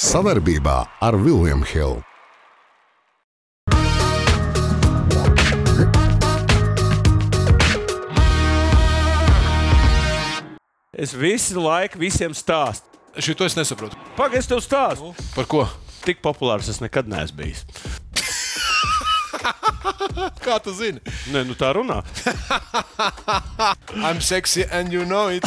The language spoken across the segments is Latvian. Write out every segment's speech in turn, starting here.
Savaarbībā ar Vilniem Hilu. Es visu laiku visiem stāstu. Šito es nesaprotu. Pagaidiet, es tev stāstu. Par ko? Tik populārs es nekad neesmu bijis. Kā tu zini? Nē, nu tā runā. I'm sexy and you know it.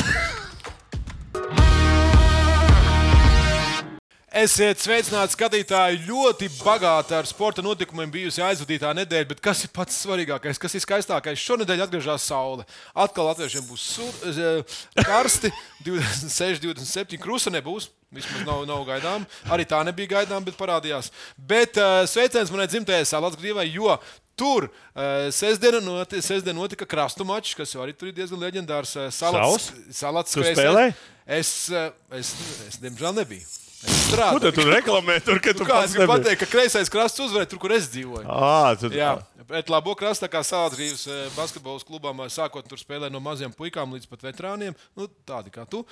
Esiet sveicināti, skatītāji! Ļoti bagāta ar sporta notikumiem bijusi aizvadītā nedēļa, bet kas ir pats svarīgākais, kas ir skaistākais? Šonadēļ atgriežas saule. Atkal latviešiem būs sur, eh, karsti, 26, 27 krusta nebūs. Vismaz nav, nav gaidām. Arī tā nebija gaidām, bet parādījās. Bet eh, sveiciens manai dzimtajai salas grīvai, jo tur eh, sestdiena noti, sestdien notika krastu mačs, kas jau arī tur ir diezgan leģendārs. eh, Salats, Savs? salats Tu spēlēja? spēlēji? Es, eh, es, es, diemžēl, nebiju. Es strādāju. Ko tu tur reklamē? Tur, ka Nu, tu kā pats es gribu nebija? Ah, pateikt, ka kreisais krasts uzvarēja tur, kur es dzīvoju. Ā, tu- Jā, bet labo krastu, tā kā Sāldrības basketbola klubā eh, sākot tur spēlēt no maziem puikām līdz pat veterāniem, nu, tādi kā tu.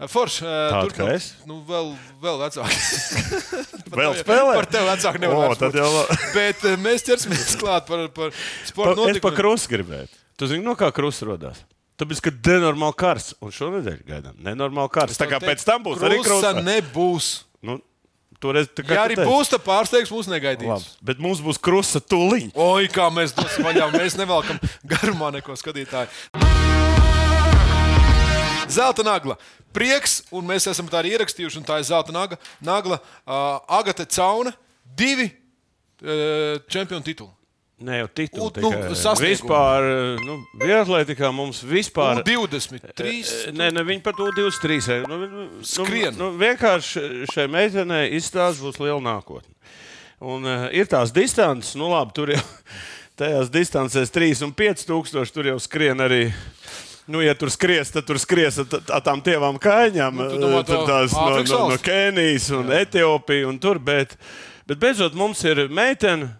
Eh, Forši, eh, Tādi turpināt. kā es? Nu, vēl, vēl vecāki. Vēl spēlē? Par tevi vecāki nevar O, vairs tad būt. jau labi. Bet eh, mēs ķersimies klāt par, par Pa, es sporta pa notikumiem. krustu gribēju. Tu zini, no kā krusts radās? Tāpēc, ka denormāli karsts. Un šonadēļ gaidām nenormāli karsts. Tā kā pēc tam būs arī Krusta krusts. nebūs. Nu, toreiz, tā kā Ja tu arī teici. būs, tad pārsteigts mūs negaidīs. Labi, bet mums būs krusta tuliņa. Oi, kā mēs dosim vaļā, mēs nevelkam garumā neko skatītāju. Zelta nagla. Prieks, un mēs esam tā arī ierakstījuši, un tā ir zelta naga, nagla. Uh, Agate Cauna, divi uh, čempionu tituli. Nē, jau titulu, U- nu, tikai. sasniegumu. Vispār, nu, Vietlaikā mums vispār. E, 23. Nē, ne, viņi pat to 23. Nu, vi- nu, Skrien. Nu, nu, vienkārši šai meitenei izstāsta būs liela nākotne. Un uh, ir tās distances, nu labi, tur jau tajās distancēs 3 un 5000 tur jau skrien arī. Nu, ja tur skries, tad tur skries ar tā- ar tām tievām kājām. Nu, tu domā, eh, tur tā tās no, Āfrikas no, no valsts? Kenijas un Etiopijas un tur. Bet, bet beidzot mums ir meitene,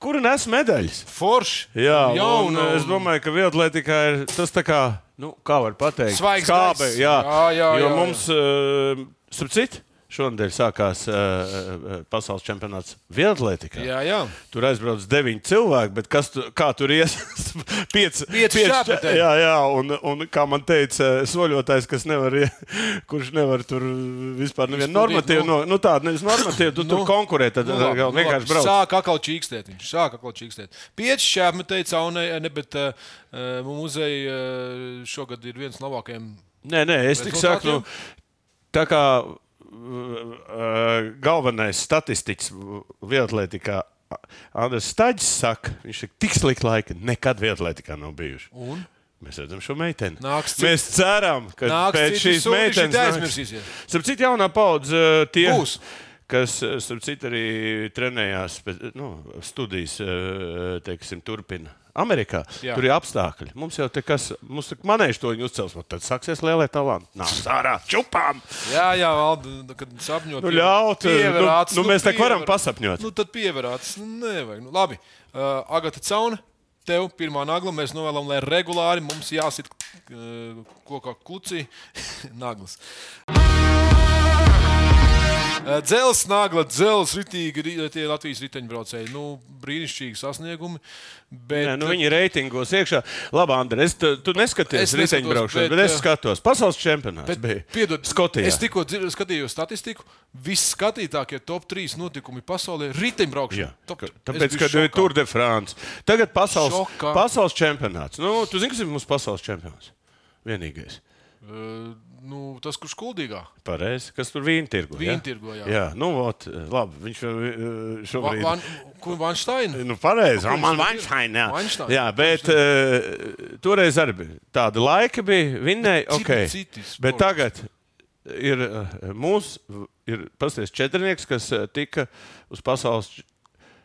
kura nes medaļas. Forši. Jā, un, jauna. un, es domāju, ka vieglatlētā ir tas tā kā, nu, kā var pateikt, Svaigs skābe. gaiss. Jā, Jā, jā, jo jā, mums, uh, starp citu, šonadēļ sākās uh, pasaules čempionāts vieglatlētā. Jā, jā. Tur aizbrauc deviņi cilvēki, bet kas tu, kā tur ies? Pieci Pieci šāpatēji. Jā, jā, un, un kā man teica, eh, soļotājs, kas nevar, ie- kurš nevar tur vispār nevienu Izpildīt, normatīvu, nu. no, nu tādu nevis normatīvu, tu tur konkurē, tad Nu, nu, labi, nu, vienkārši labi. brauc. Sāk atkal čīkstēt. Viņš sāk atkal čīkstēt. Pieci šāpmi teica, un ne, bet uh, muzeja uh, šogad ir viens no labākajiem. Nē, nē, es tikai saku, nu, Rezultātiem? tā kā uh, galvenais statistiķis Vietlētikā Andris Staģis saka, viņš ir tik slikti laiki, nekad Vietlētikā nav bijuši. Un? Mēs redzam šo meiteni. Nāks citi. Mēs ceram, ka Nāks pēc citi šīs sūdi, šitā meitenes aizmirsīsies. Starp citu, jaunā paudze uh, tie, Būs. kas, uh, starp citu, arī trenējās, pēc- nu, studijas, uh, teiksim, turpina. Amerikā Jā. Jā. tur ir apstākļi. Mums jau te kas, mums tur manēž to viņa uzcels, un tad sāksies lielie talanti. Nāk, sārā, čupām! Jā, jā, valda, kad sapņot. Nu, ļaut, nu, pieverāts, nu, mēs tā kā varam piever- pasapņot. Nu, tad pieverāts. Nu, Nevajag. Nu, labi, uh, Agata Cauna, tev pirmā nagla. Mēs novēlam, lai regulāri mums jāsit uh, kokā kluci naglas. Uh, Dzels, nagla, dzels, ritīgi, ri- tie Latvijas riteņbraucēji. Nu, brīnišķīgi sasniegumi. Bet, Nē, nu, viņi ir reitingos iekšā. Labi, Andrej, es te- tu Es neskaties neskatos, riteņbraukšanu, bet, bet es eh, skatos. Pasaules čempionāts Bet, bija. piedod, Skotijā. Es tikko dzir- skatījos statistiku. Visskatītākie top 3 notikumi pasaulē ir riteņbraukšana. Jā, Top- ka- Es tāpēc, biju ka ir šokā. Tour de France. Tagad pasaules, Šokā. pasaules čempionāts. Nu, tu zini, kas ir mūsu pasaules čempions? Vienīgais. Uh, nu, tas, kurš kuldīgāk, Pareizi, kas tur vīna tirgo. Vīna tirgo, jā. jā nu, ot, labi, viņš eh, šobrīd. Va, kurš Vanšteina? Nu, pareizi. Kur Man viņš Weinstein, jā. Weinstein. jā, bet uh, toreiz arī bija tāda laika, bija vinnēji, Bet citi- ok. citi sports. Bet tagad ir eh, mūsu, ir pasties četrnieks, kas eh, tika uz pasaules č-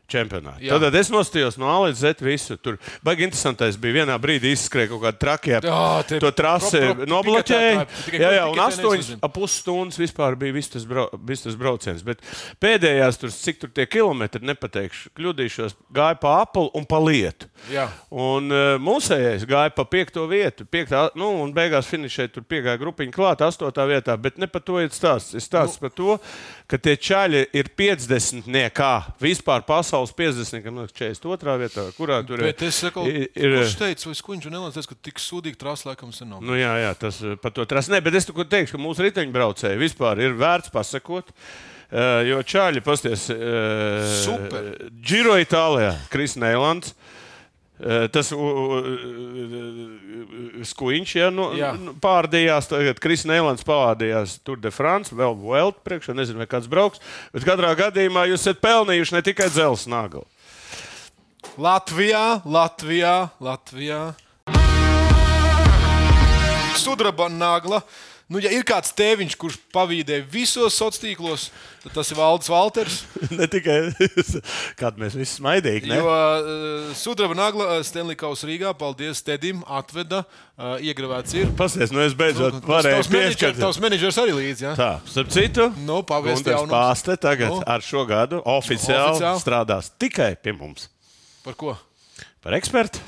čempionāti. Jā. Tad, tad es nostājos no A līdz Z visu. Tur bija interesantais. Bija vienā brīdī izskrēja kaut kāda trakija. Jā, tie to trasi pro- pro- nobloķēja. piketētāji, tikai Jā, jā, ko un piketē astoņas nezinu. ap pusstundas vispār bija viss tas, brau, viss tas brauciens. Bet pēdējās tur, cik tur tie kilometri, nepateikšu, kļūdīšos, gāja pa apli un pa lietu. Jā. Un uh, mūsējais gāja pa piekto vietu. Piektā, nu, un beigās finšēja tur piegāja grupiņa klāt, astotā vietā. Bet ne par to ir stāsts. Ir stāsts nu. par to, ka tie čaļi ir 50 niekā. Vispār pasaules 50, kam liekas, 42. vietā, kurā tur Bet es saku, ir. eh, kurš teica, vai skuņš un nelēns, ka tik sūdīgi trāsla laikam sen nav. Nu, jā, jā, tas eh, par to trāsas. Nē, bet es tikai teikšu, ka mūsu riteņbraucēji vispār ir vērts pasakot. eh, Jo čāļi pasties. Super. Giro Itālijā, Kris Neilands. eh, Tas u- u- skuiņš ja, nu, Jā. nu, pārdījās. Tagad Kris Neilands pārdījās Tur de France, vēl Velt priekšā. Nezinu, vai kāds brauks. Bet katrā gadījumā jūs esat pelnījuši ne tikai dzelzceļa nāgalu. Latvijā, Latvijā, Latvijā. Sudraba nagla. Nu, ja ir kāds tēviņš, kurš pavīdē visos sociālos tīklos, tad tas ir Valdis Valters. ne tikai kādu mēs visi smaidīgi. ne? Jo uh, Sudraba nagla Stenlikaus Rīgā, paldies Tedim, atveda, uh, iegravēts ir. Pasties, nu es beidzot varēju Tavs menedžers, pieskatīt. tavs menedžers arī līdzi. Ja? Tā, starp citu, Nu, pavēsti Gunteris jaunums. Pāste tagad Nu. ar šo gadu oficiāli, Oficiāli. oficiāli strādās tikai pie mums. Par ko? Par ekspertu.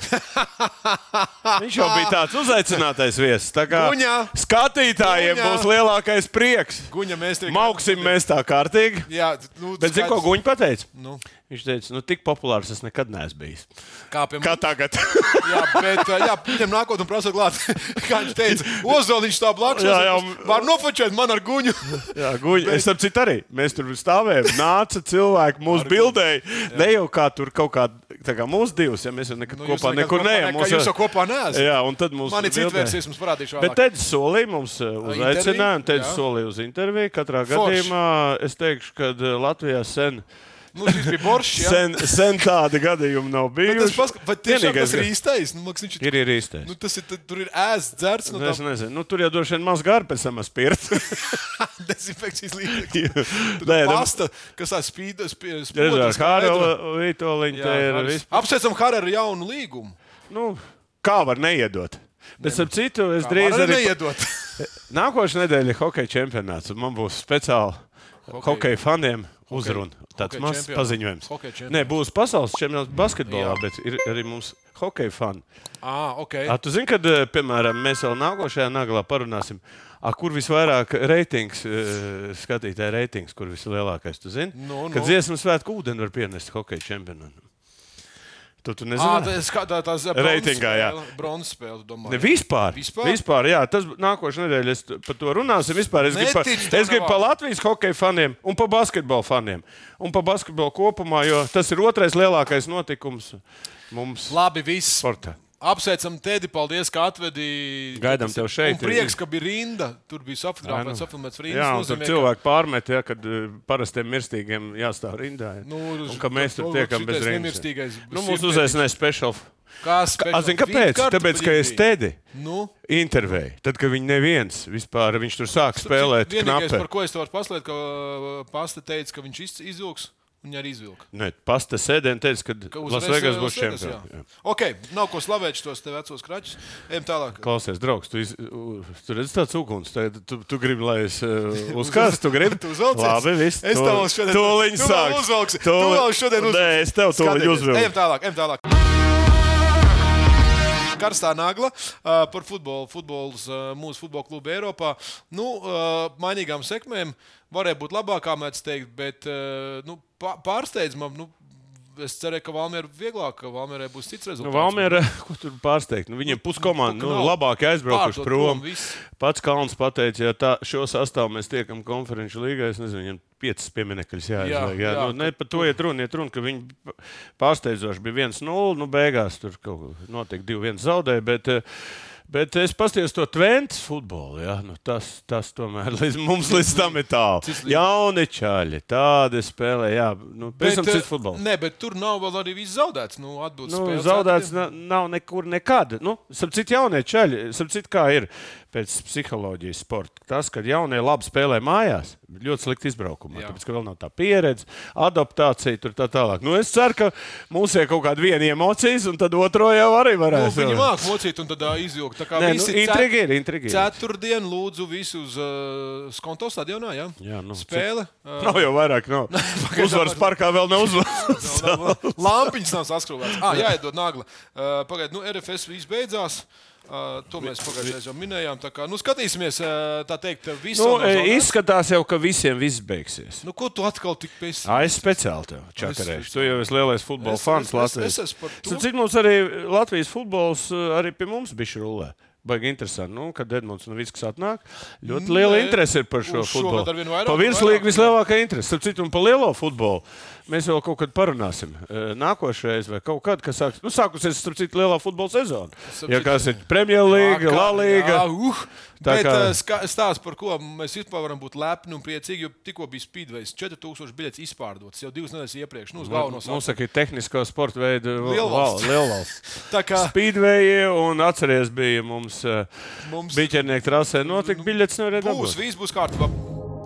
Viņš jau bija tāds uzaicinātais viesis. Tā kā Guņā! skatītājiem Guņā! būs lielākais prieks. Guņa mēs tiek. Mauksim mēs tā kārtīgi. Jā, nu, Bet zini, ko skaidrs. Guņš pateica? Nu, Viņš teica, nu tik populārs es nekad neesmu bijis. kā pie Kā tagad? Jā, bet uh, jā, viņam nākotnē prasa klāt, kā viņš teica, Ozoliņš tā blakus. Jā, Jā, jā, jā. un- Var nofočēt man ar guņu. Jā, guļ. Es tam citu arī. Mēs tur stāvējām. Nāca cilvēki, mūsu bildēji. Ne jau kā tur kaut kā, tā kā mūsu divas, ja mēs jau nekad Nu, nu, jūs kopā nekad nekur kopā neejam. ne- Mūs kā jūs jau- jau kopā neesat. Jā, un tad mums Mani tur bildē. citvērsīs mums parādīšu Bet vēlāk. Teds solīja mums eh, uz interviju? aicinājumu, Teds Jā. solīja uz interviju. Katrā Forši. gadījumā es teikšu, ka eh, Latvijā sen, Nu, šis bija boršs. jā. sen, sen tāda gadījuma nav Bet bijusi. Tas, pask... vai tiešām, tas ir ir īstais. Nu, liekas, viņš ir... Ir, ir īstais. Nu, tas ir, tad tur ir ēsts, dzērts, no Nu, es tā nezinu, nu, tur jau droši vien maz gārpēc esam spirti. dezinfekcijas līdzekļa. Nē, Nē, nu, pasta, kas tā spīd, spīd, Redz, ar spīd. Hārolu Vitoļiņu te ir vispār. Apsveicam Hararu ar jaunu līgumu. Nu, kā var neiedot? Bet, ap citu, es drīz Drīz arī arī. neiedot. Nākošais nedēļa ir hokeja čempionāts, un man būs speciāli Hokeja. hokeja faniem uzruna. Tāds Hokeja mazs čempionāts. paziņojums. Hokeja čempionāts. Nē, būs pasaules čempionāts basketbolā, Jā. bet ir arī mums hokeja fani. Ah, ok. A, tu zini, kad, eh, piemēram, mēs vēl nākošajā naglā parunāsim, a, kur visvairāk reitings, eh, skatītāja reitings, kur vislielākais, tu zini? Nu, nu. Kad dziesmas svētku ūdeni var pienest hokeja čempionātam. Tu, tu Ah, nezini? tā ir tā līnija. Reitingā, jā. Bronzas spēle, domāju. Ne, vispār. Vispār? vispār jā, tas nākošais nedēļa. Es t- par to runāsim. Vispār es gribu, par, Neticu tev es gribu nav. par Latvijas hokeja faniem un par basketbalu faniem. Un par basketbalu kopumā, jo tas ir otrais lielākais notikums mums Labi, viss. sportā. Apsveicam tevi, paldies, ka atvedi. Gaidām Tas tevi ir- šeit. Un Prieks, ka bija rinda. Tur bija safotografēts, safotografēts rindas. nu? Jā, un tur nozīmē, ka- cilvēki pārmet, ja, kad eh, parastiem mirstīgiem jāstāv rindā. Ja. Nu, un ka mēs tur to- tiekam šitais bez rindas. nemirstīgais Nu, mums simtmēnesis. uzaicināja special. Kas A, zini, kāpēc? Tāpēc, ka es tedi. Nu, Intervēja. Tad, kad viņi neviens vispār viņš tur sāk spēlēt, vienīgais, knapi. par ko es tev varu paslēpt, ka uh, Pasta teica, ka viņš iz- izvilks. Viņa arī izvilka. Nē, pasta sēdēn teica, Ka ka uzreiz, Lasvegas uh, būs sēdēs, čempions. jā. Jā. Ok, nav ko slavēt šos te vecos kraķus. Ejam tālāk. Klausies, draugs, tu, iz, u- tu redz tāds uguns, tā, tu, tu gribi, lai es uh, uzkāstu, tu gribi. Tu uzvelcies? Labi, viss. Es tev vēl šodien- Tūliņ tu vēl sāks. uzvelksi, tu vēl šodien Nē, es tev tūliņ Skatieties. Ejam uzvilku. tālāk, ejam tālāk. Karstā nagla uh, par futbolu. Futbols uh, mūsu futbola kluba Eiropā. Nu, uh, mainīgām sekmēm varēja būt labākā, mēdz teikt, bet uh, nu, pā- pārsteidzamam. Nu, es cerēju, ka Valmēra vieglāk, ka Valmērai būs cits rezultāts. Nu, Valmiera, ko tur pārsteigt? Nu, viņiem puskomanda, nu, nu, nav. labāk aizbraukuši Pārdod prom. prom viss. Pats Kalns pateica, ja tā, šo sastāvu mēs tiekam konferenču līgā, es nezinu, viņiem piecas pieminekļus jāizliek. Jā, jā, jā, jā, nu, ne, par to iet runa, iet runa, ka viņi pārsteidzoši bija 1-0, nu beigās tur kaut kā notika 2-1 zaudēja, bet, eh, Bet es paskatījos to Twentes futbolu. Ja? Nu, tas, tas tomēr līdz mums līdz tam ir tālu. Jauni čaļi, tādi spēlē. Jā, nu, pavisam cits futbols. Nē, bet tur nav vēl arī viss zaudēts. Nu, atbildes Nu, spēles zaudēts ceturtdien. na- nav nekur nekad. Nu, Sapratu, jaunie čaļi, sapratu, kā ir pēc psiholoģijas sporta. Tas, kad jaunie labi spēlē mājās, ir ļoti slikti izbraukumā. Jā. Tāpēc, ka vēl nav tā pieredze, adaptācija tur tā tālāk. Nu, es ceru, ka mums ir kaut kāda viena emocijas, un tad otro jau arī Nu, varēs. viņi māca mocīt un tādā izjūgt. Tā kā Nē, nu, visi intriga ir, intriga ir. Ceturtdien lūdzu visu uz uh, skonto stadionā, jā? Jā, nu, Spēle. Uh, Nav jau vairāk, no uzvaras parkā vēl neuzvaras. Lampiņas nav saskrūvētas. Ah, jā, iedod nagla. Uh, Pagaidiet, nu, RFS viss beidzās. Uh, to mēs pagājušajā jau minējām. Tā kā, nu, skatīsimies, uh, tā teikt, visu. Nu, izskatās jau, ka visiem viss beigsies. Nu, ko tu atkal tik pēc? Ai, es speciāli tev čakarēju. Tu jau esi lielais futbola Es- fans es- Latvijas. es esmu par to. Cik mums arī Latvijas futbols uh, arī pie mums bija rulē? Baigi interesanti, nu, kad Edmunds un Viskas atnāk. Ļoti liela Nē, interese ir par šo uz futbolu. šogad arvien vairāk Pa un vairāk. virslīgu vislielākā interese. Starp citu, un par lielo futbolu mēs vēl kaut kad parunāsim. Eh, Nākošais vai kaut kad, kas sāks, nu, sākusies, starp citu, lielā futbola sezona. Starp Ja citu, kas ir Premjerlīga, Vakar, La Līga. Jā, uh, Tā bet kā- kā... stāsts, par ko mēs vispār varam būt lepni un priecīgi, jo tikko bija Speedways 4000 biļetes izpārdotas jau divas nedēļas iepriekš. Nu, uz galveno Mums saka, ir tehnisko sporta veidu Lielvalsts. lielvalsts. Tā kā Speedway, un atcerieties, bija mums, mums Mums- biķernieku trasē. Notika biļets, no būs, redzes. viss būs kārtībā.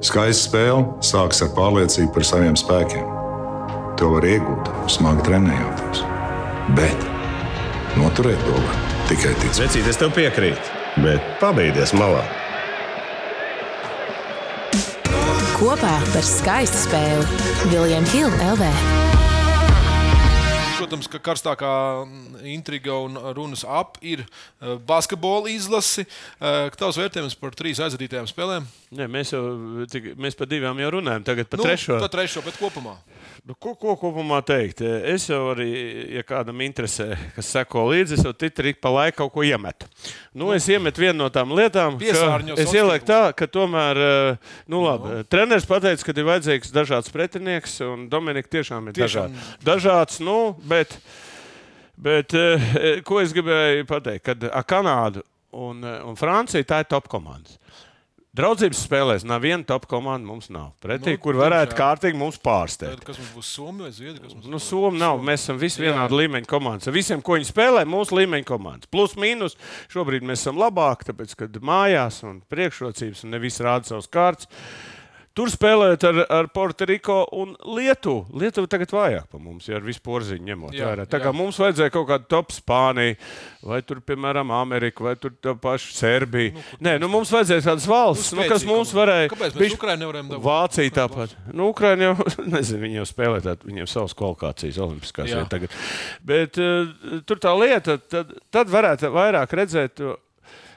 Skaista spēle sākas ar pārliecību par saviem spēkiem. To var iegūt, smagi trenējoties. Bet noturēt to var tikai ticēt. Vecīt, es tev piekrītu, bet pabeigties malā. Kopā par skaistu spēli Viljams Hilde LV. Protams, ka karstākā mm, intriga un runas ap ir eh, basketbola izlase. Eh, Tavs vērtējums par trīs aizvadītajām spēlēm? Nē, mēs jau tik, mēs par divām jau runājam, tagad par nu, trešo. Par trešo, bet kopumā. Nu, ko, ko kopumā teikt? E, Es jau arī, ja kādam interesē, kas seko līdzi, es jau titri ik pa laikam kaut ko iemetu. Nu, es iemetu vienu no tām lietām, Piesārņo es sociālos. ielieku tā, ka tomēr, eh, nu labi, treneris pateica, ka ir vajadzīgs dažāds pretinieks, un Dominika tiešām ir Tiešām. tiešām. dažāds. Dažāds, nu, bet, bet eh, ko es gribēju pateikt, kad ar Kanādu un, eh, un Franciju tā ir top komandas. Draudzības spēlēs nav viena top komanda, mums nav. Pretī, Nu, nu, kur varētu diemžēl. kārtīgi mums pārsteigt. Tad, Kas mums būs Somija vai Zviedrija? Kas mums Nu, Somija nav. Mēs esam visi vienāda līmeņa komandas. Ar visiem, ko viņi spēlē, mūsu līmeņa komandas. Plus, mīnus. Šobrīd mēs esam labāki, tāpēc, ka mājās un priekšrocības un nevis rāda savus kārtas. Tur spēlējot ar, ar Puertoriko un Lietuvu. Lietuva tagad vājāk par mums, ja ar visu porziņu ņemot Jā, vērā. Tā jā. kā mums vajadzēja kaut kādu top Spāniju, vai tur, piemēram, Ameriku, vai tur tā paša Serbiju. Nu, Nē, nu mums vajadzēja tādas valsts, nu, kas mums varēja. Kāpēc mēs bišķi- Ukraiņu nevaram dabūt? Vācija tāpat. Nu, Ukraiņā jau, nezinu, viņi jau spēlē tādu, viņiem savas kvalifikācijas, Olimpiskās Jā. jau tagad. Bet uh, tur tā lieta, tad, tad varētu vairāk redzēt. to-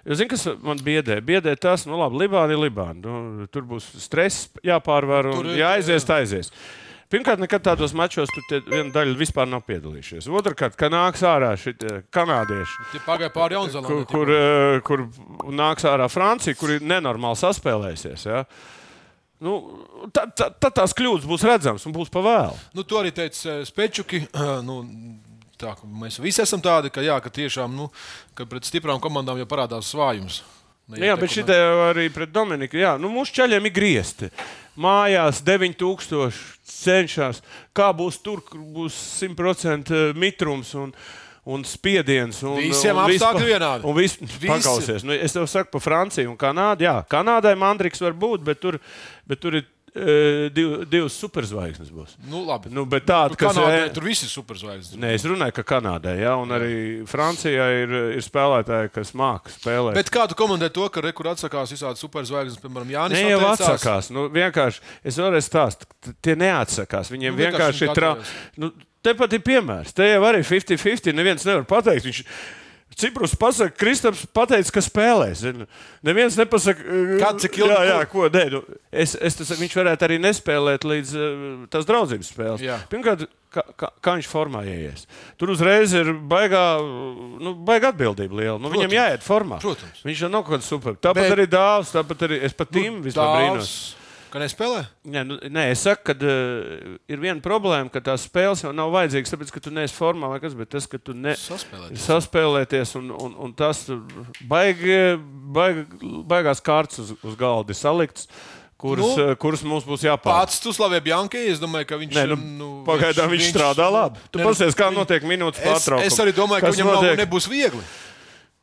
Jo, zini, kas man biedē? Biedē tas, nu, labi, Libāna ir Libāna. Nu, tur būs stress jāpārvar un Tur ir- jāaizies, tā aizies. Pirmkārt, nekad tādos mačos tur tie- viena daļa vispār nav piedalījušies. Otrakārt, ka nāks ārā šie kanādieši. Tie Pagāja pāri Kur, Jaunzēlandē. kur, eh, kur nāks ārā Francija, kur ir nenormāli saspēlējusies. Ja? Nu, tad, tad, tad tās kļūdas būs redzamas un būs pavēlu. Nu, to arī teica eh, Spečuki. Nu, tā, ka mēs visi esam tādi, ka, jā, ka tiešām nu, ka pret stiprām komandām jau parādās svājums. Ne, Nu Jā, te, bet kur šī mēs- arī pret Dominiku. Jā, nu, mūsu ceļiem ir griezti. Mājās 9000 cenšas. Kā būs tur, kur būs 100% mitrums un, un spiediens. Un, Visiem un viss apstākļi pa- vienādi. Un viss Visi. pakausies. Nu, es tev saku par Franciju un Kanādu. Jā, Kanādai mandriks var būt, bet tur, bet tur ir e, div, divas superzvaigznes. Būs. Nu, labi. Nu, bet tāda, kas Kanādā, e- tur viss ir superzvaigznes. Nē, es runāju, ka Kanādā ja, un arī Francijā ir, ir spēlētāji, kas māca spēlēt. Bet kādu komandē to, ka rekur atsakās visādi superzvaigznes, piemēram, Jānis? Ne jau atteicās? atsakās. Nu, vienkārši, es vēlreiz stāstu, t- tie neatsakās. Viņiem nu, Nu, vienkārši vienkārši ir traumas. Nu, Tepat ir piemērs. Te jau arī 50-50. Neviens nevar pateikt. Viņš... Ciprus pasakā, Kristaps pateica, ka spēlēs. Zinu, Neviens nepasaka, Kad, cik ilgi, jā, jā, ko nē, nu, es, es tas, viņš varētu arī nespēlēt līdz eh, tās draudzības spēles. Jā. Pirmkārt, kā, kā, kā viņš formā ieies. Tur uzreiz ir baigā, nu, baigā atbildība liela. Nu, viņam jāiet formā. Protams. Viņš jau nav kaut kāds super. Tāpat Bet- arī dāvs, tāpat arī es pat Tim vispār brīnos. Dāvs, Kā nespēlē? Nē, nu, nē, es saku, ka uh, ir viena problēma, ka tās spēles jau nav vajadzīgas, tāpēc, ka tu neesi formā vai kas, bet tas, ka tu ne... Saspēlēties. saspēlēties un, un, un tas tur baigi, baigi, baigās kārtas uz, uz galda ir salikts, kuras, Nu. nu, kuras mums būs jāpārpār. Pats tu slavē Bjankī, es domāju, ka viņš. Nē, nu, pagaidām viņš, viņš strādā labi. Tu Nē, nu, paskaties, kā notiek minūtes Es, pārtraukums. es arī domāju, ka Kas viņam nav, notiek? nebūs viegli.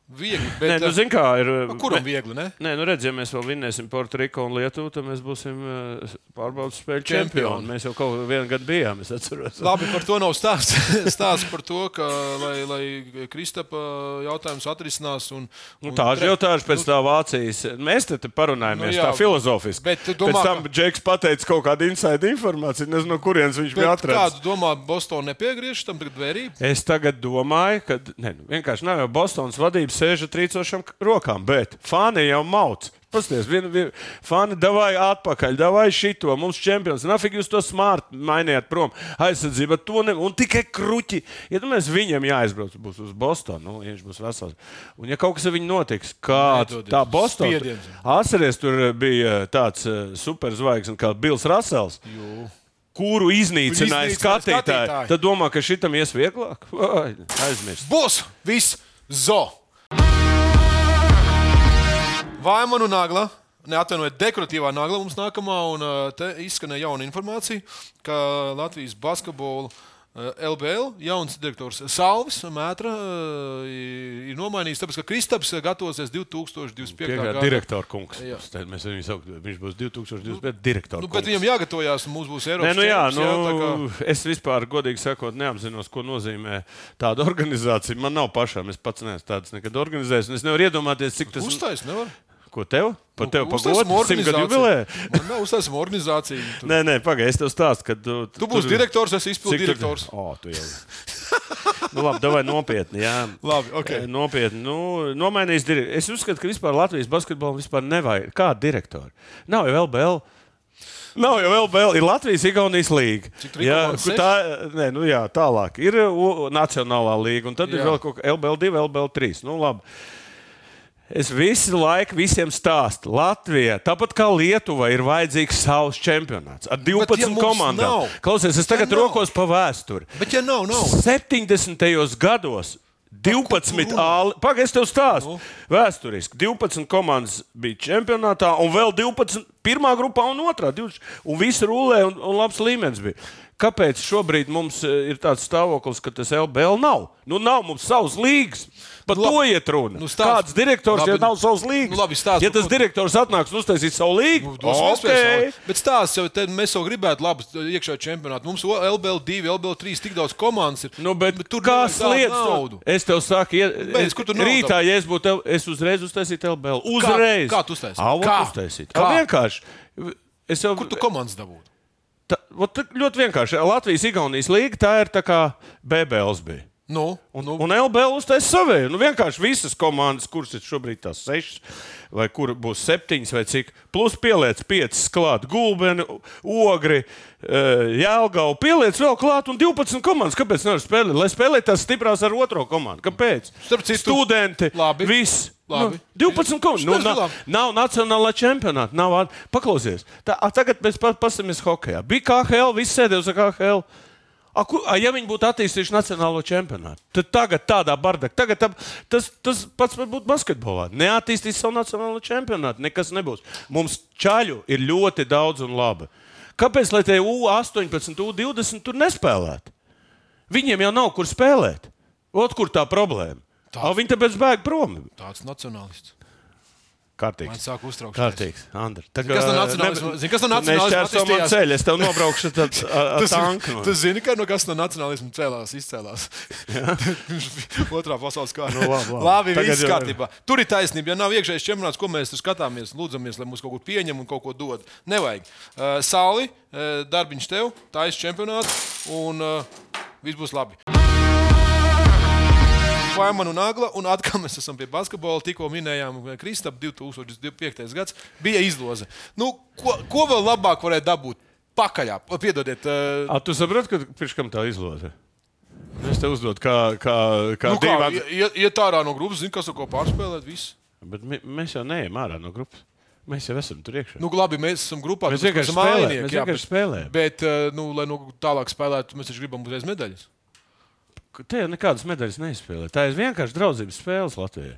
Viegli, bet Nē, nu, zini, kā ir. uh, kuram viegli? Ne? Nē, nu redziet, ja mēs vēl vinnēsim Puertoriku un Lietuvu, tad mēs būsim eh, pārbaudas spēļu Čempioni. čempioni. Mēs jau kaut kādā gadā bijām, es atceros. Labi, par to nav stāsts. Stāsts par to, ka, lai, lai Kristapa jautājums atrisinās. Un, Nu, un tā ir tre- jautājums pēc tā Vācijas. Mēs te, te parunājamies Nu nu, jā, tā filozofiski. bet tu domā, pēc tam ka- Džeks pateica kaut kādu inside informāciju, nezinu, no kurienes viņš bija Bet atrasts. Kādu domā, Bostonā nepiegriež tam tagad vērību? Es tagad domāju, ka ne, nu, vienkārši nav jau Bostonas vadība sēž ar trīcošām k- rokām, bet fani jau mauc. Pasties, vien, vien, fani davai atpakaļ, davai šito, mums čempions. Nafik jūs to smart mainījāt prom. Aizsardzība to ne, un tikai kruķi. Ja tu mēs viņam jāaizbrauc būs uz Bostonu, nu, ja viņš būs vesels. Un ja kaut kas ar viņu notiks, kāds Nedodies. tā Bostonā. Spiediens. Atcerieties, tur bija tāds eh, superzvaigznes kā Bills Rasels. Kuru iznīcināja Iznīcināja skatītāji? skatītāji. Tad domā, ka šitam ies vieglāk? Vai, Aizmirst. Būs viss zo! Vaimanu nagla. Neatvainojiet, dekoratīvā nagla mums nākamā, un uh, te izskanēja jauna informācija, ka Latvijas basketbolu uh, LBL jauns direktors Salvis Mētra uh, ir ir nomainījis, tāpēc ka Kristaps uh, gatavosies 2025. Piekrīt, gadā. direktora kungs. Jā. Tad Mēs viņu saucam, viņš būs 2025. direktors. Nu, bet viņam jāgatavojās, un mums būs Eiropas Nē, nu jā, čempions, nu, jā, tā kā- es vispār, godīgi sakot, neapzinos, ko nozīmē tāda organizācija. Man nav pašām, es pats neesmu tādas nekad organizējis. un Es nevaru iedomāties, cik tas Uztais, nevar. Ko tev? Par tevi Uztaisim pagodināt? Simt gadu jubilē? Nu, organizāciju. Man Nu, nav uztaisim organizāciju. Tur. Nē, nē, pagaidi, es tev stāstu, ka tu, Tu būsi direktors, es izpildu direktors. O, tu jau. nu, labi, davai nopietni. Jā. Labi, ok. E, Nopietni. Nu, nomainīs direktoru. Es uzskatu, ka vispār Latvijas basketbolam vispār nevajag. Kāda direktora? Nav jau LBL. Nav jau LBL, ir Latvijas Igaunijas līnija. Cik tur ir Jā, komandas? kur tā, nē, nu jā, tālāk ir o, Nacionālā līnija, un tad jā. Jā. ir vēl kaut kāda LBL2, LBL3. Nu, labi. Es visu laiku visiem stāstu. Latvija, tāpat kā Lietuva, ir vajadzīgs savs čempionāts ar Bet, 12 ja ja mums komandām. nav? Klausies, es tagad nav. rokos pa vēsturi. Bet, ja nav, nav. 70. gados 12 āli. Pagaidiet, tev stāstu. Nu. Vēsturiski 12 komandas bija čempionātā, un vēl 12. Pirmā grupā un otrā. 20, un viss rulēja, un, un labs līmenis bija. Kāpēc šobrīd mums eh, ir tāds stāvoklis, ka tas LBL nav? Nu, nav mums savs līgas. Par Nu, to labi. iet runa. Nu, Nu, stāsti. Kāds direktors, labi, Labi, ja nu, nav savs līgas? nu, labi, stāsti, ja nu, tas ko- direktors atnāks un uztaisīs savu līgu, Nu, dosim iespējas okei. vēl. Bet stāsts jau te, mēs jau gribētu labu iekšā čempionātu. Mums o- LBL2, LBL3 tik daudz komandas ir. Nu, bet, tur kā nevajag tādu slēdz naudu. naudu? Es tev saku, ja, Beidz, kur tu naudu rītā, ja es būtu, tev, es uzreiz uztaisītu LBL. Uzreiz. kā tu uztaisītu? Avo, Kā? uztaisīt. Kā? Kā? Vienkārši. Es jau, Kur tu komandas dabūtu? tā, vot, tā ļoti vienkārši. Latvijas-Igaunijas līga tā ir tā kā BBLs bija. Nu, Un, nu, nu, un LBL uztaisīja savēju. Nu, vienkārši visas komandas, kuras ir šobrīd tās sešas, vai kur būs septiņas, vai cik, plus pieliec piecas klāt, gulbeni, ogri, jēlgau, pieliec vēl klāt un 12 komandas. Kāpēc nevar spēlēt? Lai spēlē tās stiprās ar otro komandu. Kāpēc? Starp citu, studenti, labi, viss. labi. Nu, 12 komandas. Nu, Starp citu, nav, labi. nav nacionālā čempionāta. Nav at... Paklausies, tā, a, tagad mēs pa- paskatāmies hokeja. Bija KL, viss sēdēja uz KL. A, kur, a, ja viņi būtu attīstījuši nacionālo čempionātu, tad tagad tādā bardakā, tagad tam, tas, tas pats var būt basketbolā. Neattīstīs savu nacionālo čempionātu, nekas nebūs. Mums čaļu ir ļoti daudz un labi. Kāpēc lai tie U18, U20 tur nespēlētu? Viņiem jau nav kur spēlēt. Ot, kur tā problēma? Tā. Viņi tāpēc bēg prom. tāds nacionālists. Man Kārtīgi. sāk uztraukties. Kārtīgs, Andri. Tā Zini, kas no nacionālisma- zini, kas no nacionālisma man attīstījās? ceļ, es tev nobraukšu tad ar Tas, tanku. tas zini, ka no kas no nacionālisma cēlās, izcēlās. Otrā pasaules kara. Nu, labi, labi. labi Tagad viss jau ir. kārtībā. Tur ir taisnība. Ja nav iekšējais čempionāts, ko mēs tur skatāmies, lūdzamies, lai mums kaut ko pieņem un kaut ko dod. Nevajag. Uh, Sāli, uh, darbiņš tev, taisa čempionāts un uh, viss būs labi. Faimanu Nagla, un atkal mēs esam pie basketbola. Tikko minējām, ka Kristap 2025. gads bija izloze. Nu, ko, ko vēl labāk varēja dabūt? Pakaļā, piedodiet, uh, A, tu saproti, ka pirms kam tā izloze? Es tev uzdodu, kā, kā, kā, nu, nu, kā, divām. iet, iet ārā no grupas, zina, kas ar ko pārspēlēt. Viss. Bet mi- mēs jau neejam ārā no grupas. Mēs jau esam tur iekšā. Nu, labi, mēs esam grupā, Mēs tāpēc, ka vienkārši esam spēlējam, āinieki, mēs jā, vienkārši spēlējam. Bet, eh, nu, lai nu, tālāk spēlētu, mēs taču gribam uzreiz medaļas. Nu, Te jau nekādas medaļas neizspēlē. Tā ir vienkārši draudzības spēle Latvijai.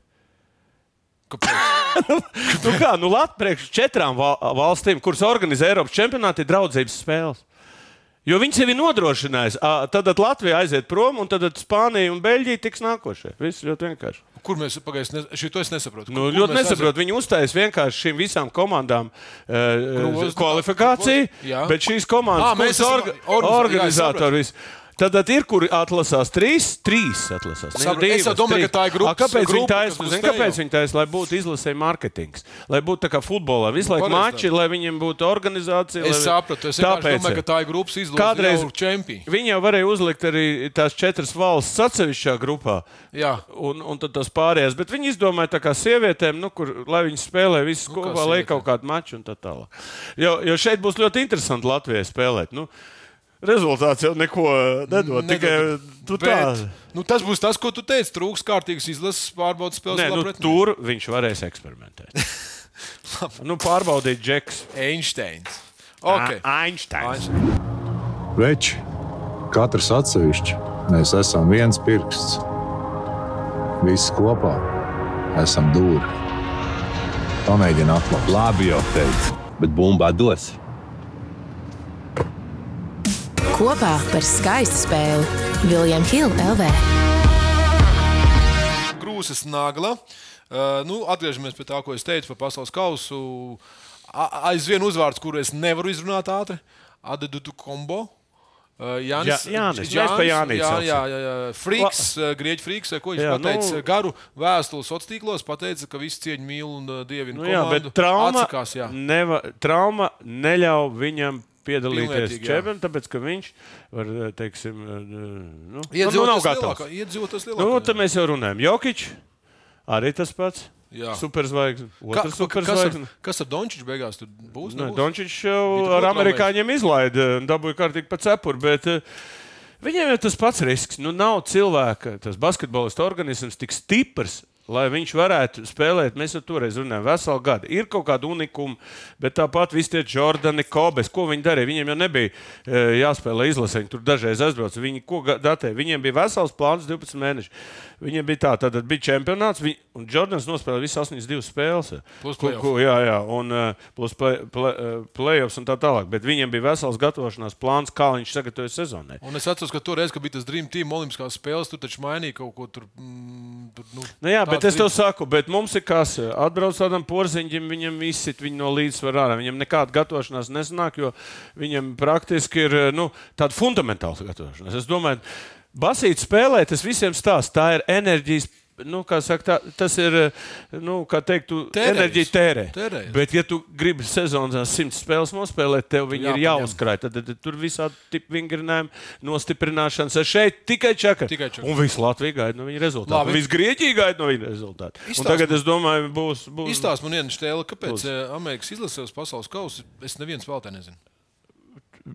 Kāpēc? Nu kā, nu Latvijas priekš četrām val valstīm, kuras organizē Eiropas čempionāti, ir draudzības spēles. Jo viņi sevi nodrošinājis. Ā, Tad at Latvija aiziet prom, un tad at Spānija un Beļģija tiks nākošie. Viss ļoti vienkārši. Kur mēs pagaidām? Šī to es nesaprotu. Nu, Kur- kur ļoti mēs nesaprotu. Viņi uztaisīja vienkārši šīm visām komandām uh, Grozdu- kvalifikāciju, Jā. bet šīs komandas Ā, kuras mēs orga esam organizā- jā, organizatori. visi. Tad, tad ir, kur atlasās trīs, trīs atlasās. Ne, Saprotu. Es jau domāju, trīs. ka tā ir grupas- Ā, Kāpēc grupa, viņi tā kas būs izdarīja? te Kāpēc jau. viņi tā izdarīja? Lai būtu izlasē mārketings, lai būtu tā kā futbolā, visu laiku pareizi mači, lai viņiem būtu organizācija. Es lai... sapratu, es vienkārši domāju, ka tā ir grupas izlase. Kādreiz- Kādreiz bija čempions. Viņi jau varēja uzlikt arī tās četras valsts atsevišķā grupā. Jā. Un, un tad tas pārējais. Bet viņi izdomāja, tā kā sievietēm, nu, kur, lai viņas spēlē visas nu, kā kopā, lai sievietēm. kaut kādu maču un tā tālāk. Jo, jo šeit būs ļoti interesanti Latvijai spēlēt. Nu, rezultāts jau neko nedod. Nedod. Tikai tu Bet, tā. nu, tas būs tas, ko tu teici. Trūks kārtīgas izlases pārbaudas spēles. Nē, nu, tur viņš varēs eksperimentēt. nu, pārbaudīt džeks. Einsteins. Okay. A- Einsteins. Veči, katrs atsevišķi, mēs esam viens pirksts. Visi kopā esam dūri. Pamēģini atklāt. Labi, jau teicu, bet bumbā dos. Kopā par skaistu spēli Viljam Hill LV. Grūzes nagla. Uh, nu, atgriežamies pie tā, ko es teicu par pasaules kausu. A- Aizvien uzvārds, kuru es nevaru izrunāt ātri, Adedudu kombo. Uh, Jānis, Jā- Jānis. Mēs pa Jānī jā, saucam. jā, jā, jā. Friks, uh, grieķis Friks, vai ko viņš Jā, jā, pateica? nu- Nu, garu vēstuli sociālos tīklos pateica, ka visi cieņu mīl un uh, dievinu. Nu, jā, bet komandu. trauma, Nu, Atsakās, jā. neva, trauma neļauj viņam piedalīties Pilnvērtīgi, jā. čempionātā, tāpēc ka viņš var, eh, teiksim, eh, nu, nu, nav Iedzīvotājs gatavs. lielākā. Iedzīvotājs Nu, lielākā. tad mēs jau runājam. Jokic, arī tas pats. Jā. Superzvaigznes. Ka- Otrs ka- kas ar, Nu, superzvaigznes. kas ar Dončiču beigās tur būs? Nē, nebūs? Dončits Bija jau tur ar otrā amerikāņiem izlaida un dabūja kārtīgi pa cepuri. Bet, eh, Viņiem ir tas pats risks. Nu, nav cilvēka, tas basketbolista organisms tik stiprs, lai viņš varētu spēlēt. Mēs jau toreiz runājām, veselu gadu. Ir kaut kāda unikuma, bet tāpat visi tie Jordani, Kobes, ko viņi darīja. Viņiem jau nebija e, jāspēlē izlasē, viņi tur dažreiz aizbrauca. Viņi ko ga- datē? Viņiem bija vesels plāns 12 mēneši. Viņiem bija tā, tad bija čempionāts, viņi, un Jordans nospēlēja visas 82 spēles. Plus Ko- playoff. ko- Jā, jā, un eh, plus play- play- eh, playoffs un tā tālāk. Bet viņiem bija vesels gatavošanās plāns, kā viņš sagatavoja sezonai. Un es atceros, ka toreiz, kad bija tas Dream Team Olimpiskās spēles, tur taču mainīja kaut ko tur. Mm, tur nu, Nu, jā, bet es tāds tev Dream- saku, bet mums ir kas eh, atbrauc tādam porziņam, viņam izsit viņu no līdzsvara ārā. Viņam nekāda gatavošanās nesanāk, jo viņam praktiski ir eh, nu, tāda fundamentāla gatavošanās. Es domāju, basīt spēlēt, tas visiem stāsta, tā ir enerģijas. Nu, kā saka, tā, tas ir, eh, nu, kā teikt, Tērējs. enerģija tērē. Tērējs. Bet, ja tu gribi sezonā simt spēles nospēlēt, tev viņi ir Jāpaņem. jāuzkrāj. Tad, tad, tad tur visādi tipi vingrinājumi, nostiprināšanas. Es šeit tikai čakā. Tikai čakar. Un viss Latvija gaida no viņa rezultātu. Labi. Labi. Viss Grieķija gaida no viņa rezultātu. Un Izstāsti Tagad man- es domāju, būs. būs... Izstāst man, Jānis, tēlā, kāpēc eh, Amerikas izlases pasaules kausa es neviens vēl te nezinu.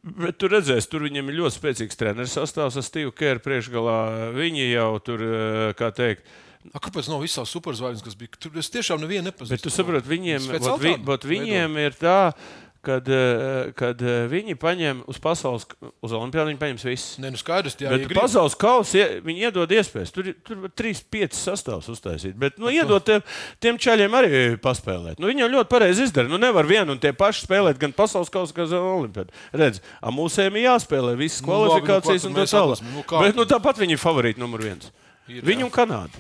Bet tur redzēs, tur viņam ir ļoti spēcīgs treneris sastāvs ar Steve Kerru priekšgalā. Viņi jau tur, eh, kā teikt, A, kāpēc nav visas superzvaigznes, kas bija? Tur es tiešām nevienu nepazīstu. Bet tu saproti, viņiem, Pēc vot vi, altām vot viņiem ir tā, kad, eh, kad eh, viņi paņem uz pasaules, uz olimpiādu, viņi paņems visus. Nē, nu skaidrs, jā, Bet ja ja grib. pasaules kausā ie- viņi iedod iespējas. Tur ir- tur var trīs, piecas sastāvs uztaisīt. Bet nu, iedod tiem, tiem čaļiem arī paspēlēt. Nu, viņi jau ļoti pareizi izdara. Nu, nevar vienu un tie paši spēlēt gan pasaules kausā, gan olimpiādu. Redz, ar mūsiem ir jāspēlē visas Nu, labi, nu, kvalifikācijas ko un tad tā mēs tālāk. atlasim? Nu, kā Bet tad? nu, tāpat viņi ir favorīti numur viens. Ir, jā. Viņu un Kanādu.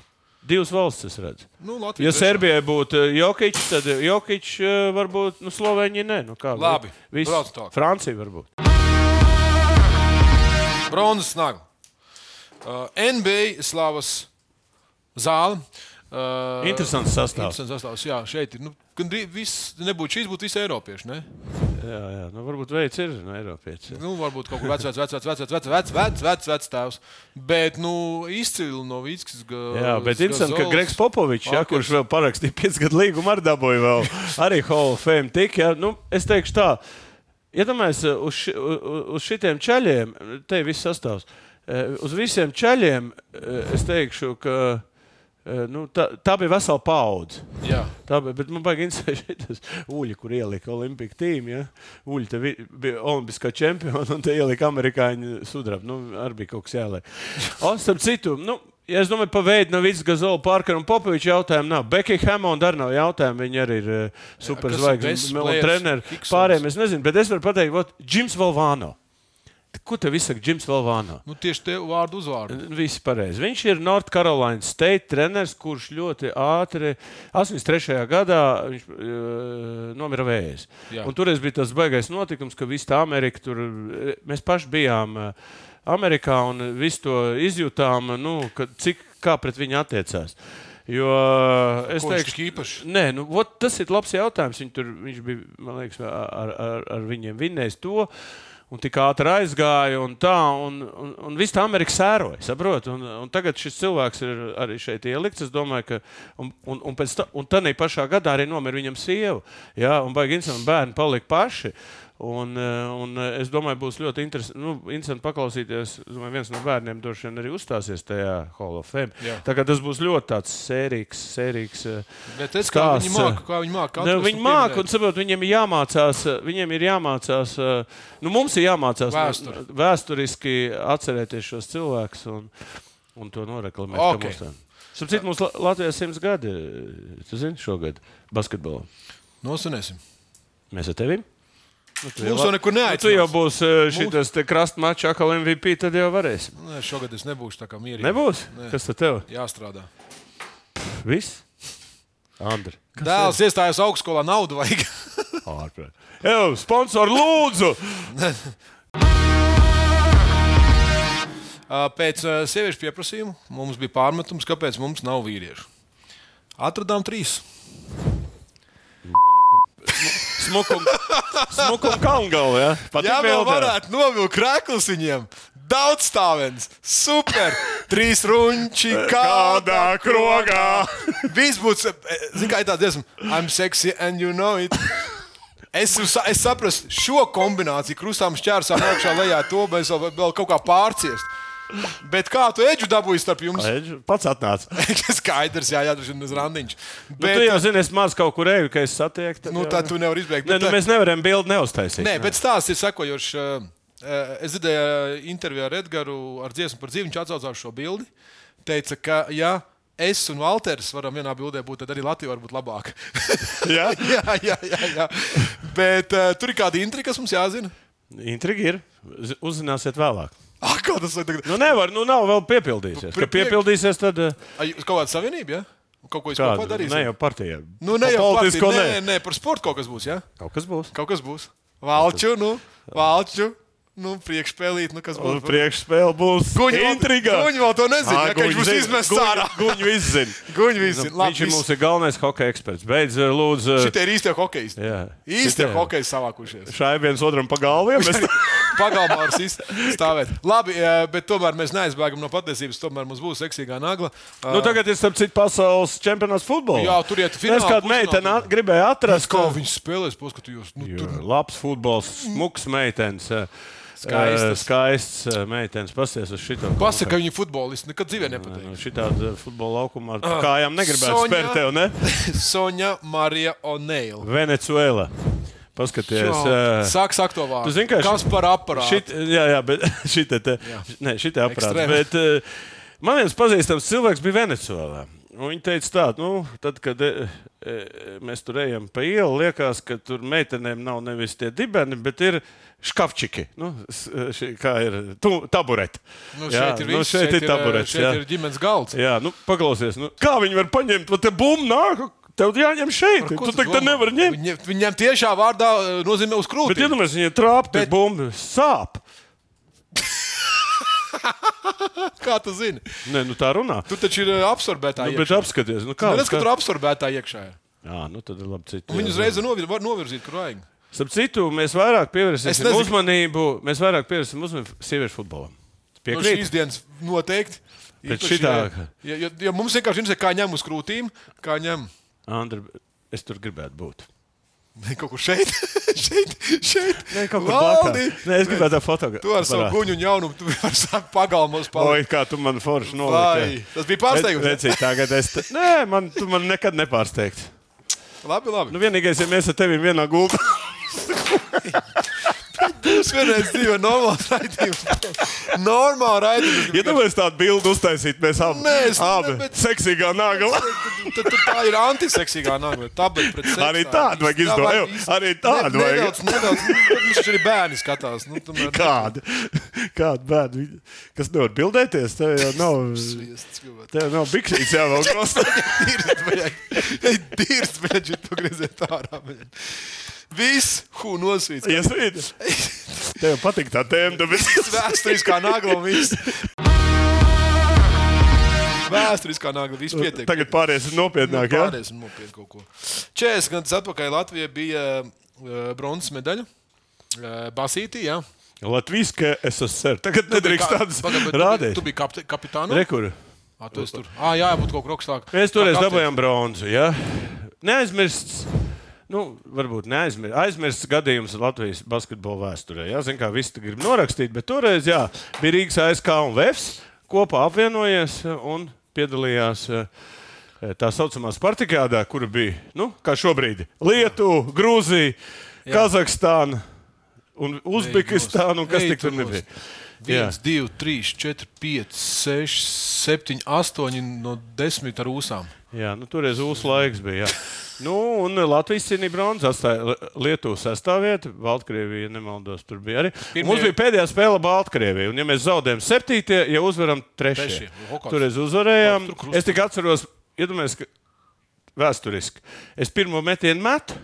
Divas valstis es redzu. Nu, Latvija Ja trešā. Serbijai būtu Jokic, tad Jokic eh, varbūt nu, Slovenija nē. Nu, kā, Labi, Viss. brauc tālāk. Francija varbūt. Bronzas nagla. Uh, NBA slavas zāle. Uh, Interesants sastāvs. Interesants sastāvs. Jā, šeit ir. Nu, gan drīz viss nebūtu šīs, būtu visi eiropieši. Ne? Jā, jā. Nu, varbūt veids ir no Eiropietes. jā. Nu, varbūt kaut kāds vecs, vecs, vecs, vecs, vecs, vecs, vecs, vecs, vecs tēvs. Bet, nu, izcili no Vīskas. uh, Jā, bet interesanti, ka Gregs Popovičs, ja, kurš vēl parakstīja 5 gadu līgumu, arī dabūja vēl arī Hall of Fame. Tik, ja, nu, es teikšu tā, iedomājieties, ja uz, ši- u- uz šitiem ceļiem, uh, te ir viss sastāvs, Eh, uz visiem ceļiem es teikšu, uh, ka eh, Nu, tā, tā bija vesela paudze. Jā. Tā bija, bet man baigi interesē šis uļi, kur ielika Olimpija tīma. Ja? Uļi te vi- bija olimpiskā čempiona un te ielika amerikāņu sudrabu. Nu, arī bija kaut kas jāliek. O, starp citu, nu, ja es domāju, pa veidu nav viss Gazola, Parkera un Popoviča jautājumu. Nav. Becky Hammonda arī nav jautājumu. Viņa arī ir eh, best superzvaigznes un players? treneris. Hicksons. Pārējiem es nezinu, bet es varu pateikt, vot, Džims Valvāno. Ko tev izsaka Džims Valvāno? Nu, tieši te vārdu uzvārdu. Viss pareizi. Viņš ir North Carolina State treneris, kurš ļoti ātri, 83. gadā, viņš, uh, nomira vējas. Jā. Un Toreiz bija tas baisais notikums, ka visa tā Amerika tur eh, mēs paši bijām. eh, Amerikā un visu to izjūtām, nu, ka, cik, kā pret viņu attiecās. Jo eh, es Ko viņš teikšu, tik īpašs? Nē, nu, ot, tas ir labs jautājums. Viņu tur, viņš bija, man liekas, ar, ar, ar viņiem vinnējis to. Un tik ātri aizgāja, un tā, un, un, un viss tā Amerika sēroja. Saprot, un, un tagad šis cilvēks ir arī šeit ielikts. Es domāju, ka. Un, un, un, pēc ta, un tādā pašā gadā arī nomira viņam sieva. Jā, un baigās, un bērni palika paši. Un, eh, un eh, es domāju, būs ļoti interesanti, nu, interesanti paklausīties. Es Domāju, viens no bērniem droši vien arī uzstāsies tajā Hall of Fame. Jā. Tā kā tas būs ļoti tāds sērīgs, sērīgs. eh, Bet es kā Stāsts, viņi māku, kā viņi māku. Ne, viņi māca, un saprot, viņiem ir jāmācās, uh, viņiem ir jāmācās, uh, nu, mums ir jāmācās Vēsturi. nu, vēsturiski atcerēties šos cilvēkus un, un to noreklamēt. ka Ok. mums tā- Starp citu, mums La- Latvijā ir simts gadi, eh, tu zini, šogad basketbolā. Nosunēsim. Mēs ar tevi? Nu, tu Mums jau nekur nu, tu jau neaicinās. būs uh, šitas te krastmačs, akal MVP, tad jau varēs. Nē, Nu, šogad es nebūšu tā kā mierīgi. Nebūs? Nē. Kas tad tev? Jāstrādā. Viss? Andri. Dēls iestājās augstskolā, naudu vajag. Ārprāt. Evo, sponsor lūdzu! Ā, Pēc ā, sieviešu pieprasījuma mums bija pārmetums, kāpēc mums nav vīriešu. Atradām trīs. Smukuma smukum kalngala. Ja? Pat Jā, vēl varētu novilkt krāklus viņiem. Daudz stāvens, super! Trīs runči, kādā Kādā krogā. Viss būtu, e, zināmā mērā, tāds dziesma, I'm sexy and you know it. Es, sa- es saprotu šo kombināciju, krustām šķērsām augšā lejā, to bez vēl, vēl kaut kā pārciest. Bet kā tu eģu dabūji starp jums? Pats atnāca. Skaidrs, jā, jā, tas ir uz randiņš. Nu, tu jau zini, es maz kaut kur eju, ka es satieku. tad Nu, jau- tā tu nevari izbēgt. Nē, bet nu, tā- mēs nevaram bildi neuztaisīt. Nē, bet stāsts ir sekojošs. Eh, Es dzirdēju eh, interviju ar Edgars, ar dziesmu par dzīvi. Viņš atcaucās šo bildi. Teica, ka ja es un Walters varam vienā bildē būt, tad arī Latvija var būt labāka. Jā? jā, jā, jā, jā. Bet uh, tur ir kāda intriga, kas mums jāzina. Intrigi ir. Z- Uzzināsiet vēlāk. Ah, kā tas ir? Tagad... Nu, nevar, nu, nav vēl piepildīsies. Kad Prie- piepildīsies, tad eh, Ai, Jūs kaut kāda savienība, ja? Kaut ko jūs kādu- padarīsiet? ne jau partijā. Nu, ne Pa jau politisko partiju, nē, nē. nē, par sportu kaut kas būs. Ja? Kaut kas būs. Kaut kas būs. Valču, nu, valču, nu, priekšspēlīt, nu, kas Un būs. priekšspēle būs. Guņi vēl- intriga. Guņi vēl to nezina, Ā, ja, ka viņš Guņi būs zina. izmests Guņi- ārā. Guņi viss zina. Guņi visi. Nu, Labi, Viņš ir viss. mums ir galvenais hockey eksperts. Beidz, eh, lūdzu. Šitie ir īstie hokeisti. Jā. Īstie Šitie. hokeisti savākušies. Šai viens otram pa galviem. Mēs... Pagalmā var sist- stāvēt. Labi, eh, bet tomēr mēs neaizbēgam no patiesības. Tomēr mums būs seksīgā nagla. Eh, Nu, tagad ir starp citu pasaules čempionāts futbolā. Jā, tur iet finālā, Es kādu pusfinālā. meiteni at- gribēju atrast. kā viņš spēlēs, paskatījos. Nu, Tur tur labs futbols, smuks meitenes. eh, Skaistas. eh, Skaists eh, meitenes. Pasties uz šito. pasaka, ka viņi futbolisti nekad dzīvē Nu, nepateiks. Šitādi futbola laukumā ar Ah, kājām negribētu Soņa. spērt tev, ne? Sonja Marija O'Neil. Venecuēla. Paskaties. eh, Sāks aktuālāk. Tu zini, ka kas šit- par aparātu? Šit, jā, jā, bet šitā te, nē, šitā Ekstrēmi. aparāta. Bet eh, man viens pazīstams cilvēks bija Venecijā. Viņa teica, tā, nu, tad, kad e, e, mēs tur ejam pa ielu, liekas, ka tur meitenēm nav nevis tie dibeni, bet ir škafčiki. Nu, s- šī, kā ir tu, tabureti. Nu, šeit ir nu, viss. šeit, ir eh, tabureti. Šeit ir ģimenes galds. Jā, nu, paklausies, nu, kā viņi var paņemt, vai te bumba nāk, tev jāņem šeit. Ko Tu tu tā domā? nevar ņemt. Viņiem, viņiem tiešā vārdā eh, nozīmē uz Bet krūtīm. iedomājieties, ja nu- trāpīt, bet... Bet- bumba sāp. Kā tu zini? Nē, nu tā runā. Tur taču ir eh, absorbētā. Nu, iekšā. bet apskaties, nu, kā Nē, Redz, ka tur absorbētā iekšā ir. Jā, nu tad ir labi. Citu, Viņu uzreiz novir, var novirzīt, kur vajag. Starp citu, mēs vairāk Es pievērsīsim nezinu- uzmanību, mēs vairāk pievērsīsim uzmanību sieviešu futbolam. No Piekrīt. Nu, šīs dienas noteikti. Bet Īpaši, šitā- Ja, ja, ja mums vienkārši ir kā ņem uz krūtīm, kā ņem. Andri, es tur gribētu būt. Kaut kur šeit, šeit, šeit. Nē, kaut kur Laudi! blakus. Nē, es gribēju tādu Tu fotogrāfiju. ar savu guņu un jaunumu, tu ar savu pagalmos Oi, palīdzi. kā tu man forši Vai, noliki. tas bija Pārsteigums. pārsteigums. Reci, tagad es. Te... Nē, man, tu man nekad nepārsteigts. Labi, labi. Nu, vienīgais, ja mēs ar tevi vienā gultā. Jūs vienreiz dzīvojat normāli raidījumā. Normāli raidījumā. Ja tu vairs tādu bildi uztaisītu, mēs abi. Nē, es- abi. ne, bet- Seksīgā nāga. Tad tur tā ir antiseksīgā nākotnē. Tā bija pret seksu. Arī tādu vajag Tā izdot, vajag jo, iz- arī tādu ne, vajag. Nedaudz, nedaudz. Nu, Mums taču arī bērni skatās. Nu, tomēr, Kāda? Kāda bērna? Kas nevar bildēties? Tev jau nav. Sviests, cilvēt. Tev nav biksīs jāvelk krastā. Dirst, vajag. Ej, dirst, vajag ir pagrieziet ārā. vajag. Viss, hu, nosvīts. Yes, Tev patīk tā tēma, tāpēc. Vēsturiskā nagla un viss. Vēsturiskā nagla, viss pietiek. Tagad pāriesim nopietnāk. Nu, Ja? Pārējais ir nopietni kaut ko. 40 gadus atpakaļ Latvijai bija uh, bronzas medaļa. Uh, Basītī, jā. Latvijas SSR. Nu, Tagad nedrīkst tādas rādīt. rādīt. Tu biji kapte, kapitāns. Rekur. Ah, tu esi tur. Ah, jā, būtu kaut kur augstāk. Mēs toreiz Kā kapteinis. dabūjām bronzu. Ja? Neaizmirsts. Nu, varbūt neaizmirst. Aizmirsts gadījums Latvijas basketbola vēsturē. Jā, zināmā mērā viss te grib norakstīt, bet toreiz jā, bija Rīgas ASK un Vēfs kopā apvienojies un piedalījās. eh, Tā saucamā Spartakādā, kur bija nu, kā šobrīd Lietuva, Grūzija, Kazahstāna un Uzbekistāna. Un kas Ej, tik tur turmos. nebija? 1, 2, 3, 4, 5, 6, 7, 8 no 10 ar ūsām. Jā, nu, toreiz ūsu laiks bija. Jā. Nu, un Latvijas cīnīja bronzas, atstāja Li- Lietuvu sastāvvietu. Baltkrievija, ja nemaldos, tur bija arī. Pirmie- Pirmie... Mums bija pēdējā spēle Baltkrievijā. Un, ja mēs zaudējam septītie, ja uzvaram trešie, Trešie, hokeja. toreiz uzvarējām. Tur krustā. Es tikai atceros, iedomājos, ka vēsturiski es pirmo metienu metu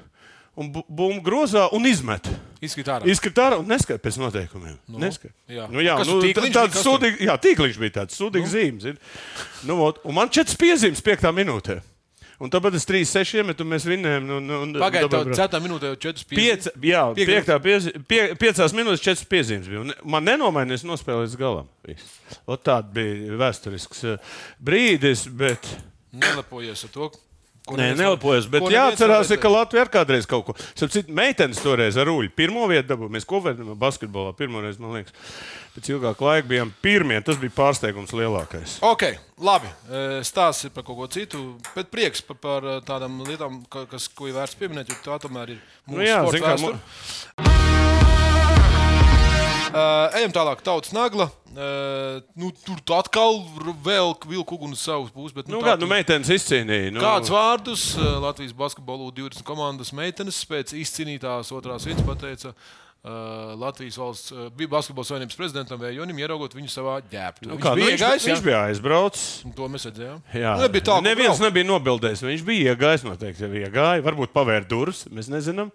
un bu- bumbu grozā un izmetu. Izskatās ārā. Izskatās tā, un neskatās pēc noteikumiem. No, jā. nu, jā, Kas nu, tur tā- tīkliņš bija, tāds kas tur? sūdīgs, jā, tīkliņš bija tāds sūdīgs nu. zīmes. zini. Nu, vot, un man četras piezīmes piektā minūtē. Un tāpēc es 3-6 iemetu, un mēs vinnējām. Nu, nu, un- Pagaidā, dabūjām tā bro- 4 minūtē jau 4, 5. Piec, jā, Piekta- piektā piezi, pie, piecās minūtēs četras piezīmes bija. Un Man nenomainījās nospēlēt līdz galam. Tāds bija vēsturisks eh, brīdis, bet Nelepojies ar to. ko Nē, neviens nelapojos, nav- bet ko neviens jāatcerās, nav ka Latvija ir kādreiz kaut ko. Sapratu, meitenes toreiz ar rūļu pirmo vietu dabūja. Mēs kopējām basketbolā pirmoreiz, man liekas, pēc ilgāka laika bijām pirmie. Tas bija pārsteigums lielākais. Ok, labi. eh, Stāsts ir par kaut ko citu, bet prieks par, par eh, tādām lietām, ka- kas, ko ir vērts pieminēt, jo tā tomēr ir mūsu Nu jā, sporta zin kā, vēsture. Eh, Ejam tālāk, tautas nagla. eh, Nu, tur tu atkal r- vēl vilku uguni savus puses. bet, Nu, tā kā tu- nu meitenes izcīnīja? Nu, Kāds vārdus eh, Latvijas basketbolu 20 komandas meitenes pēc izcīnītās otrās vietas pateica eh, Latvijas valsts eh, bija basketbola savienības prezidentam Vējonim, ieraugot viņu savā ģērbtā. Nu, kā, nu, viņš, iegājis, jā? viņš bija aizbraucis. Un To mēs redzējām. Jā, Nu, nebija tā, ka neviens braukt. nebija nobildējis. Viņš bija iegājis, noteikti jau iegāja. Varbūt pavērt durvis, mēs nezinām.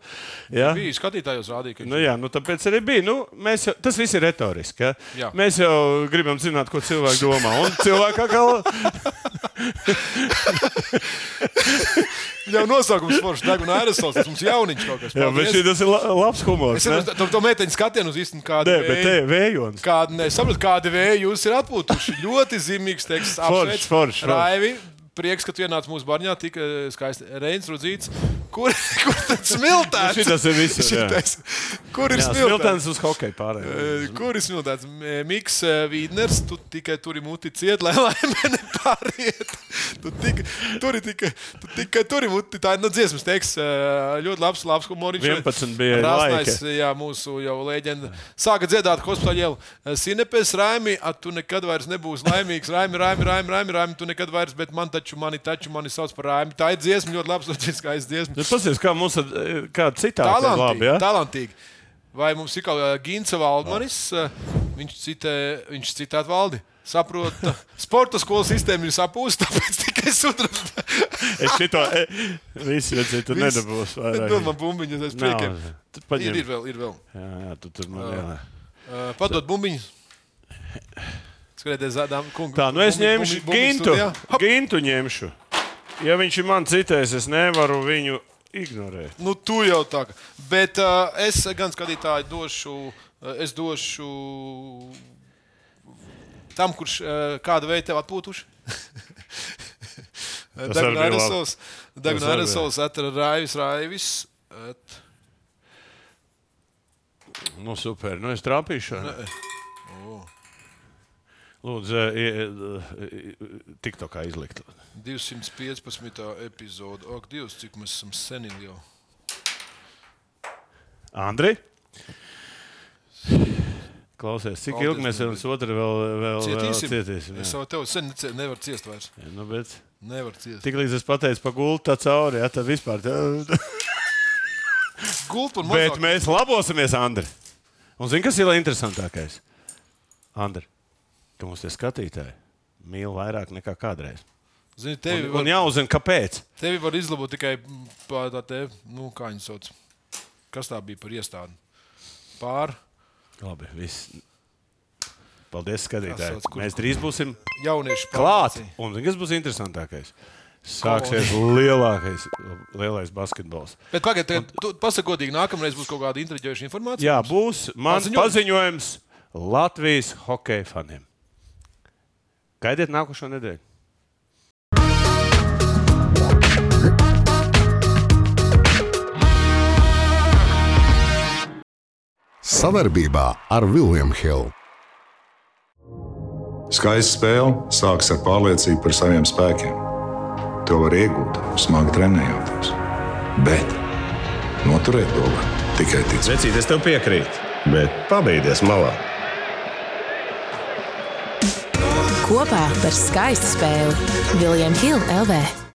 Jā. Bija skatītājos rādīja, ka Nu, jā, nu, tāpēc arī bija. Nu, mēs jau, tas viss ir retoriski. Ja? Jā. Mēs jau gribam zināt, ko cilvēks domā. Un cilvēks atkal jau nosaukums foršs deguna aerosols, tas mums jauniņš kaut kas. Jā, bet šī, Paldies. tas ir la labs humors. Es Ne? redzu, to, to meiteņu skatienu uz īstenību kādu. Nē, bet te vējons. Kādu nesaprotu, kāda vēja jūs ir atpūtuši. Ļoti zīmīgs teksts. Foršs, Apsveic, foršs, foršs. Raivi, prieks, ka tu ienāc mūsu barņā. Tik eh, skaisti. Reins rudzīts. Kur, kur tad smiltēts? Nu, šitas ir visur, jā. Šitas. Kur ir Jā, smiltēts? smiltens uz hokeja pārējiem. Eh, Kur ir smiltēts? Eh, Miks eh, Vīdners, tu tikai tur muti ciet, lai laime nepāriet. Tu tik, tur ir tikai, tu tikai tur ir muti. Tā ir no dziesmas teksts. eh, Ļoti labs, labs humors. 11 bija Rāsnais, jā, mūsu jau leģenda. Sāka dziedāt hospitaļielu. Sinepes, Raimi, a, tu nekad vairs nebūsi laimīgs. Raimi, Raimi, Raimi, Raimi, Raimi, tu nekad vairs, bet man taču, mani taču, mani sauc par Raimi. Tā ir dziesma, ļoti labs, ļoti skaists dziesma. Nu, Pasies, kā mums ir kā citādi ir labi. Talantīgi. Ja? talantīgi. Vai mums ir kaut kāda Ginča Valdmanis, eh, viņš, citē, viņš citēt valdi? Saprot, sporta skolas sistēma ir sapūsta, tāpēc tikai sudraba. Es šito e, visu redzēju, tu nedabūsi Dod man vairāk. bumbiņas, es Nav. priekiem. Tu Ir, paņem. ir vēl, ir vēl. Jā, jā, tu tur man jā. Eh, Padod bumbiņas. Skatieties, zādām kungu. Tā, nu es Bumbi- ņemšu bumbi- bumbi gintu. studijā. Hop! Gintu ņemšu. Ja viņš ir man citējis, es nevaru viņu ignorēt. Nu, tu jau tā. ka- Bet uh, es gan skatītāju došu, uh, es došu tam, kurš uh, kādu veidu tev atpūtuši. arī bija Deguna labi. aerosols, Tas arī Deguna bija. aerosols atrada Raivis Raivis. Et. Nu, super. Nu, es trāpīšu. vai ne? Lūdzu, eh, tikko kā izlikt. 215. epizode. Ak, Dievs, cik mēs esam seni jau. Andri? Klausies, cik Paldies, ilgi mēs viens otru vēl, vēl vēl Cietīsim. cietīsim? Es jā. jau tevu sen nece- nevaru ciest vairs. Nu, bet Nevaru ciest. tik līdz es pateicu pa gultu, tā cauri, jā, tad vispār. Tā... Gultu un Bet mazāk. mēs labosimies, Andri. Un zini, kas ir vēl interesantākais? Andri, ka mums tie skatītāji mīl vairāk nekā kādreiz. Zini, Un, tevi, un var, jāuzzina, kāpēc. tevi var izlabot tikai mm, pā- tā te, nu, kā viņi sauc. Kas tā bija par iestādi? Pār. Labi, viss. Paldies, skatītāji. Kas sauc, kur- Mēs drīz būsim Jauniešu klāt. pārvaldību. Un zini, kas būs interesantākais? Sāksies lielākais, lielais basketbols. Bet pagaidiet, pasakodīgi, nākamreiz būs kaut kāda intriģējoša informācija. Jā, būs mans Paziņojums. paziņojums Latvijas hokeja faniem. Gaidiet nākošo nedēļu. Savarbībā ar William Hill. Skaista spēle sākas ar pārliecību par saviem spēkiem. To var iegūt, smagi trenējoties. Bet noturēt to var tikai ticēt. Vecīt, es tev piekrītu, bet pabeigties malā. Kopā par skaistu spēli Viljams Hilde LV.